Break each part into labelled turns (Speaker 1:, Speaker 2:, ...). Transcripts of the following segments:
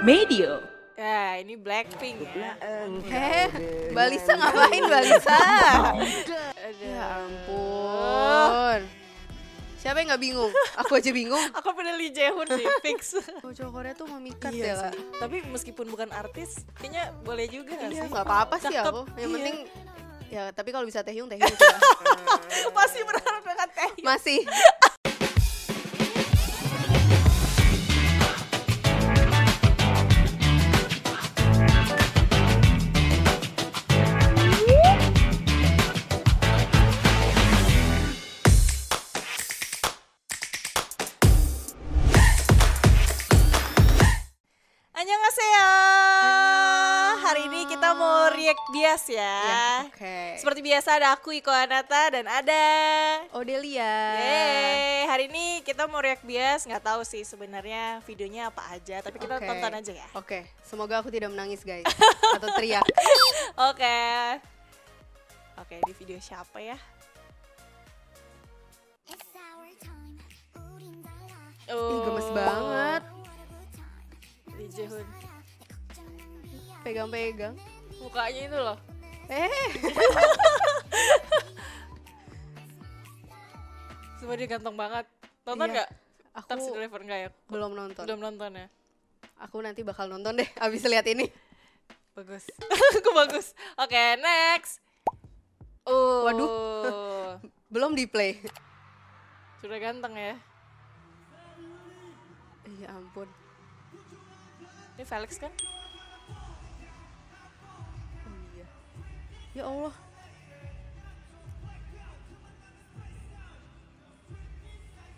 Speaker 1: Medio.
Speaker 2: Ya, ini Blackpink ya.
Speaker 3: Eh, Balisa ngapain Balisa? ya ampun. Siapa yang nggak bingung? Aku aja bingung.
Speaker 2: Aku pilih Lee Jaehoon sih, fix.
Speaker 3: Cowok Korea tuh memikat
Speaker 2: Iya
Speaker 3: ya kak.
Speaker 2: sih. Tapi meskipun bukan artis, kayaknya boleh juga nggak
Speaker 3: Iya
Speaker 2: sih?
Speaker 3: nggak apa-apa sih
Speaker 2: Cakep,
Speaker 3: aku. Yang
Speaker 2: iya.
Speaker 3: penting ya tapi kalau bisa Taehyung Taehyung coba.
Speaker 2: Pasti berharap dengan teh.
Speaker 3: Masih.
Speaker 2: Annyeonghaseyo. Hari ini kita mau react bias ya.
Speaker 3: Ya, Oke.
Speaker 2: Seperti biasa ada aku Iko Anata dan ada
Speaker 3: Odelia.
Speaker 2: Yeay, hari ini kita mau react bias, nggak tahu sih sebenarnya videonya apa aja, tapi kita
Speaker 3: Oke.
Speaker 2: tonton aja ya.
Speaker 3: Oke, semoga aku tidak menangis guys atau teriak.
Speaker 2: Oke. Oke, di video siapa ya?
Speaker 3: Ih,
Speaker 2: Oh,
Speaker 3: gemes banget.
Speaker 2: Lee Jaehoon.
Speaker 3: Pegang-pegang.
Speaker 2: Mukanya itu loh.
Speaker 3: Eh,
Speaker 2: Semua dia ganteng banget. Nonton
Speaker 3: Iya.
Speaker 2: nggak?
Speaker 3: aku
Speaker 2: Taxi driver nggak ya?
Speaker 3: belum nonton.
Speaker 2: Belum nonton ya.
Speaker 3: Aku nanti bakal nonton deh abis lihat ini.
Speaker 2: Bagus. Aku bagus. Oke, next. Oh.
Speaker 3: Waduh. Belum di play.
Speaker 2: Sudah ganteng ya.
Speaker 3: Ya ampun.
Speaker 2: Ini Felix kan?
Speaker 3: Iya. Ya Allah.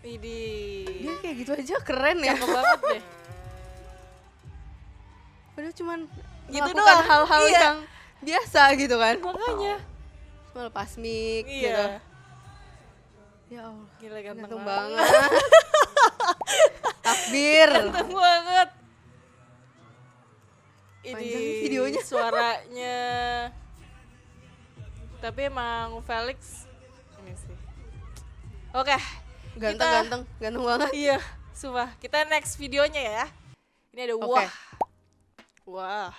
Speaker 2: Ini.
Speaker 3: Dia kayak gitu aja keren ya.
Speaker 2: Cakep banget deh.
Speaker 3: Padahal cuman
Speaker 2: Gitu
Speaker 3: melakukan
Speaker 2: doang,
Speaker 3: hal-hal
Speaker 2: iya.
Speaker 3: yang biasa gitu kan.
Speaker 2: Makanya.
Speaker 3: Cuma lepas mic gitu.
Speaker 2: Iya.
Speaker 3: Ya Allah.
Speaker 2: Gila ganteng,
Speaker 3: Ganteng
Speaker 2: banget.
Speaker 3: banget. Takbir.
Speaker 2: Ganteng banget. Ini
Speaker 3: Panjang nih videonya.
Speaker 2: suaranya. Tapi emang Felix ini sih. Oke. kita-
Speaker 3: Ganteng-ganteng, ganteng banget.
Speaker 2: Iya, sumpah. Kita next videonya ya. Ini ada
Speaker 3: Oke.
Speaker 2: wah. Wah.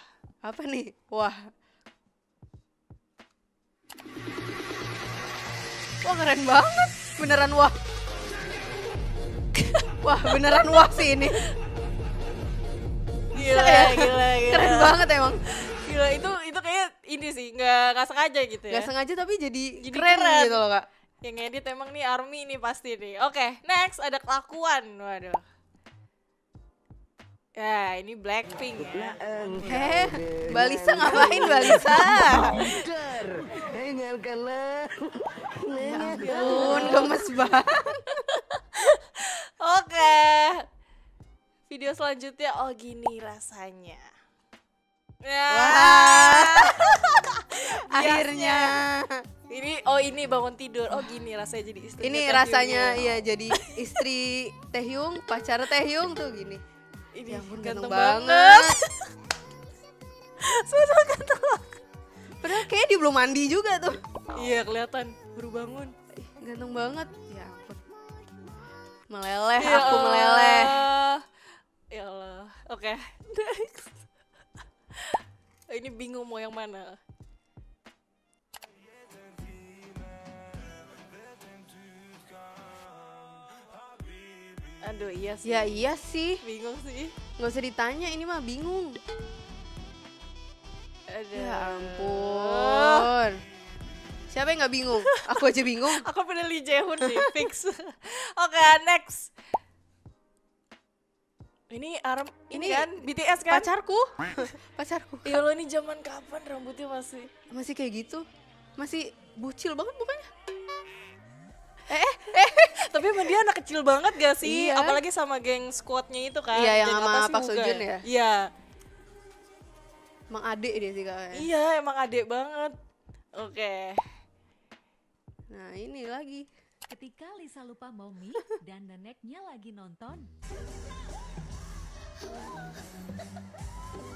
Speaker 3: Apa nih? Wah. Wah keren banget. Beneran wah. Wah beneran wah sih ini.
Speaker 2: Gila,
Speaker 3: ya?
Speaker 2: gila, gila. Iya.
Speaker 3: Keren banget emang.
Speaker 2: Gila, itu itu kayak ini sih, nggak nggak sengaja gitu ya.
Speaker 3: Gak sengaja tapi jadi,
Speaker 2: Jadi
Speaker 3: keren,
Speaker 2: keren.
Speaker 3: gitu loh kak.
Speaker 2: Yang ngedit emang nih Army nih pasti nih. Oke, next ada kelakuan. Waduh. Ya, ini Blackpink ya.
Speaker 3: Eh, Balisa ngapain Balisa?
Speaker 4: Dengarkanlah.
Speaker 3: Bun, gemes banget.
Speaker 2: Oke. Video selanjutnya oh gini rasanya. Ya. Ah.
Speaker 3: Akhirnya.
Speaker 2: Ini oh ini bangun tidur. Oh gini rasanya jadi istri.
Speaker 3: Ini rasanya iya jadi istri Taehyung, pacar Taehyung tuh gini.
Speaker 2: Ini
Speaker 3: Ya ampun, ganteng,
Speaker 2: banget.
Speaker 3: banget.
Speaker 2: Sudah ganteng banget.
Speaker 3: Padahal kayaknya dia belum mandi juga tuh.
Speaker 2: Iya kelihatan baru bangun.
Speaker 3: Ih, Ganteng banget. Ya ampun.
Speaker 2: Ya
Speaker 3: Meleleh, Eh, aku meleleh.
Speaker 2: Allah. Ya Allah. Oke. Next. Ini bingung mau yang mana. Aduh iya sih.
Speaker 3: Ya iya sih,
Speaker 2: Bingung sih.
Speaker 3: nggak usah ditanya ini mah bingung.
Speaker 2: Aduh.
Speaker 3: Ya ampun. Siapa yang nggak bingung? Aku aja bingung.
Speaker 2: Aku pilih Lee Jaehoon sih, fix. Oke, next. Ini Aram, ini,
Speaker 3: Ini
Speaker 2: kan BTS kan?
Speaker 3: Pacarku, pacarku
Speaker 2: Ya Allah ini zaman kapan rambutnya masih?
Speaker 3: masih kayak gitu, masih bucil banget mukanya.
Speaker 2: Tapi emang dia anak kecil banget gak sih?
Speaker 3: Iya.
Speaker 2: Apalagi sama geng squadnya itu kan?
Speaker 3: Iya, yang
Speaker 2: Geng
Speaker 3: sama
Speaker 2: apa sih,
Speaker 3: Park
Speaker 2: Muga
Speaker 3: Seo-joon ya?
Speaker 2: Iya,
Speaker 3: Emang adek dia sih kayaknya.
Speaker 2: iya emang adek banget. Oke.
Speaker 3: Nah ini lagi.
Speaker 5: Ketika Lisa lupa mau mie dan neneknya lagi nonton,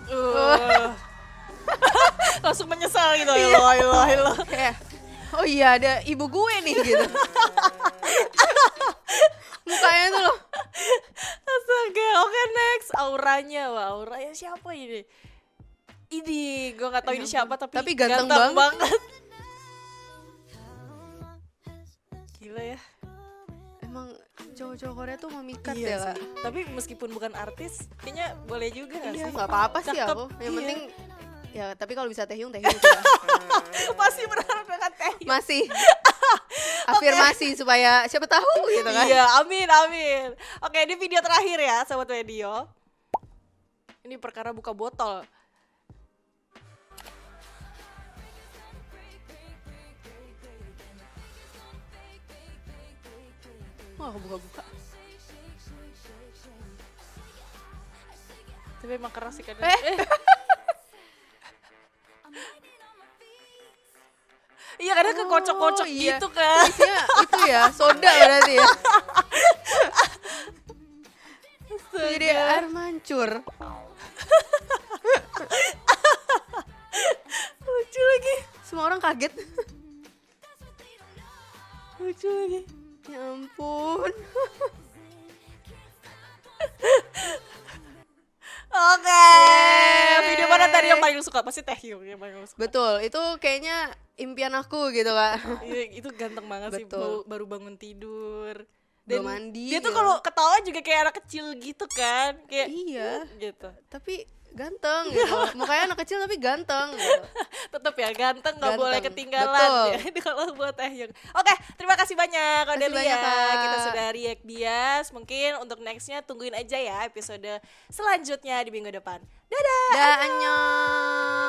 Speaker 2: Uh. Langsung menyesal gitu,
Speaker 3: Iya.
Speaker 2: ya Allah, ya Allah, ya Allah.
Speaker 3: Kayak, oh iya ada ibu gue nih gitu. Mukanya tuh loh,
Speaker 2: oke next. Auranya, wah
Speaker 3: ya
Speaker 2: auranya siapa ini? Ini gue gak tahu ini siapa tapi,
Speaker 3: Tapi ganteng banget.
Speaker 2: Gila ya.
Speaker 3: Emang cowok-cowok Korea tuh memikat
Speaker 2: Iya
Speaker 3: ya lah.
Speaker 2: sih. Tapi meskipun bukan artis, kayaknya boleh juga nggak
Speaker 3: Iya
Speaker 2: sih?
Speaker 3: nggak apa-apa sih
Speaker 2: Cakep,
Speaker 3: aku. Yang
Speaker 2: iya.
Speaker 3: penting ya tapi kalau bisa Taehyung Taehyung. sih ya.
Speaker 2: Masih berharap dengan teh.
Speaker 3: Masih afirmasi supaya siapa tahu gitu kan.
Speaker 2: Iya, amin, amin. Oke, ini video terakhir ya, sobat video. Ini perkara buka botol.
Speaker 3: Wah, aku buka-buka.
Speaker 2: Tapi emang keras sih
Speaker 3: Eh.
Speaker 2: Eh. kadang. Iya, kadang kekocok-kocok
Speaker 3: Oh, iya.
Speaker 2: gitu kan.
Speaker 3: Isinya itu ya, soda berarti ya. Jadi air mancur.
Speaker 2: Lucu lagi.
Speaker 3: Semua orang kaget.
Speaker 2: Lucu lagi.
Speaker 3: Ya ampun.
Speaker 2: Oke, video mana tadi yang paling lu suka? Pasti Taehyung yang paling lu suka.
Speaker 3: Betul, itu kayaknya impian aku gitu, Kak.
Speaker 2: Iya, itu ganteng banget sih baru,
Speaker 3: Betul.
Speaker 2: baru bangun tidur
Speaker 3: Belum mandi,
Speaker 2: dia tuh
Speaker 3: ya.
Speaker 2: kalau ketawa juga kayak anak kecil gitu kan kayak
Speaker 3: Iya.
Speaker 2: gitu
Speaker 3: Tapi ganteng gitu. Mukanya anak kecil tapi ganteng gitu.
Speaker 2: tetap ya ganteng nggak boleh
Speaker 3: Ganteng,
Speaker 2: ketinggalan
Speaker 3: betul.
Speaker 2: ya ini kalau buat Taehyung oke terima kasih banyak udah
Speaker 3: Kasih banyak,
Speaker 2: lihat
Speaker 3: Kak.
Speaker 2: kita sudah react bias mungkin untuk nextnya tungguin aja ya episode selanjutnya di minggu depan dadah
Speaker 3: Dah, annyeong.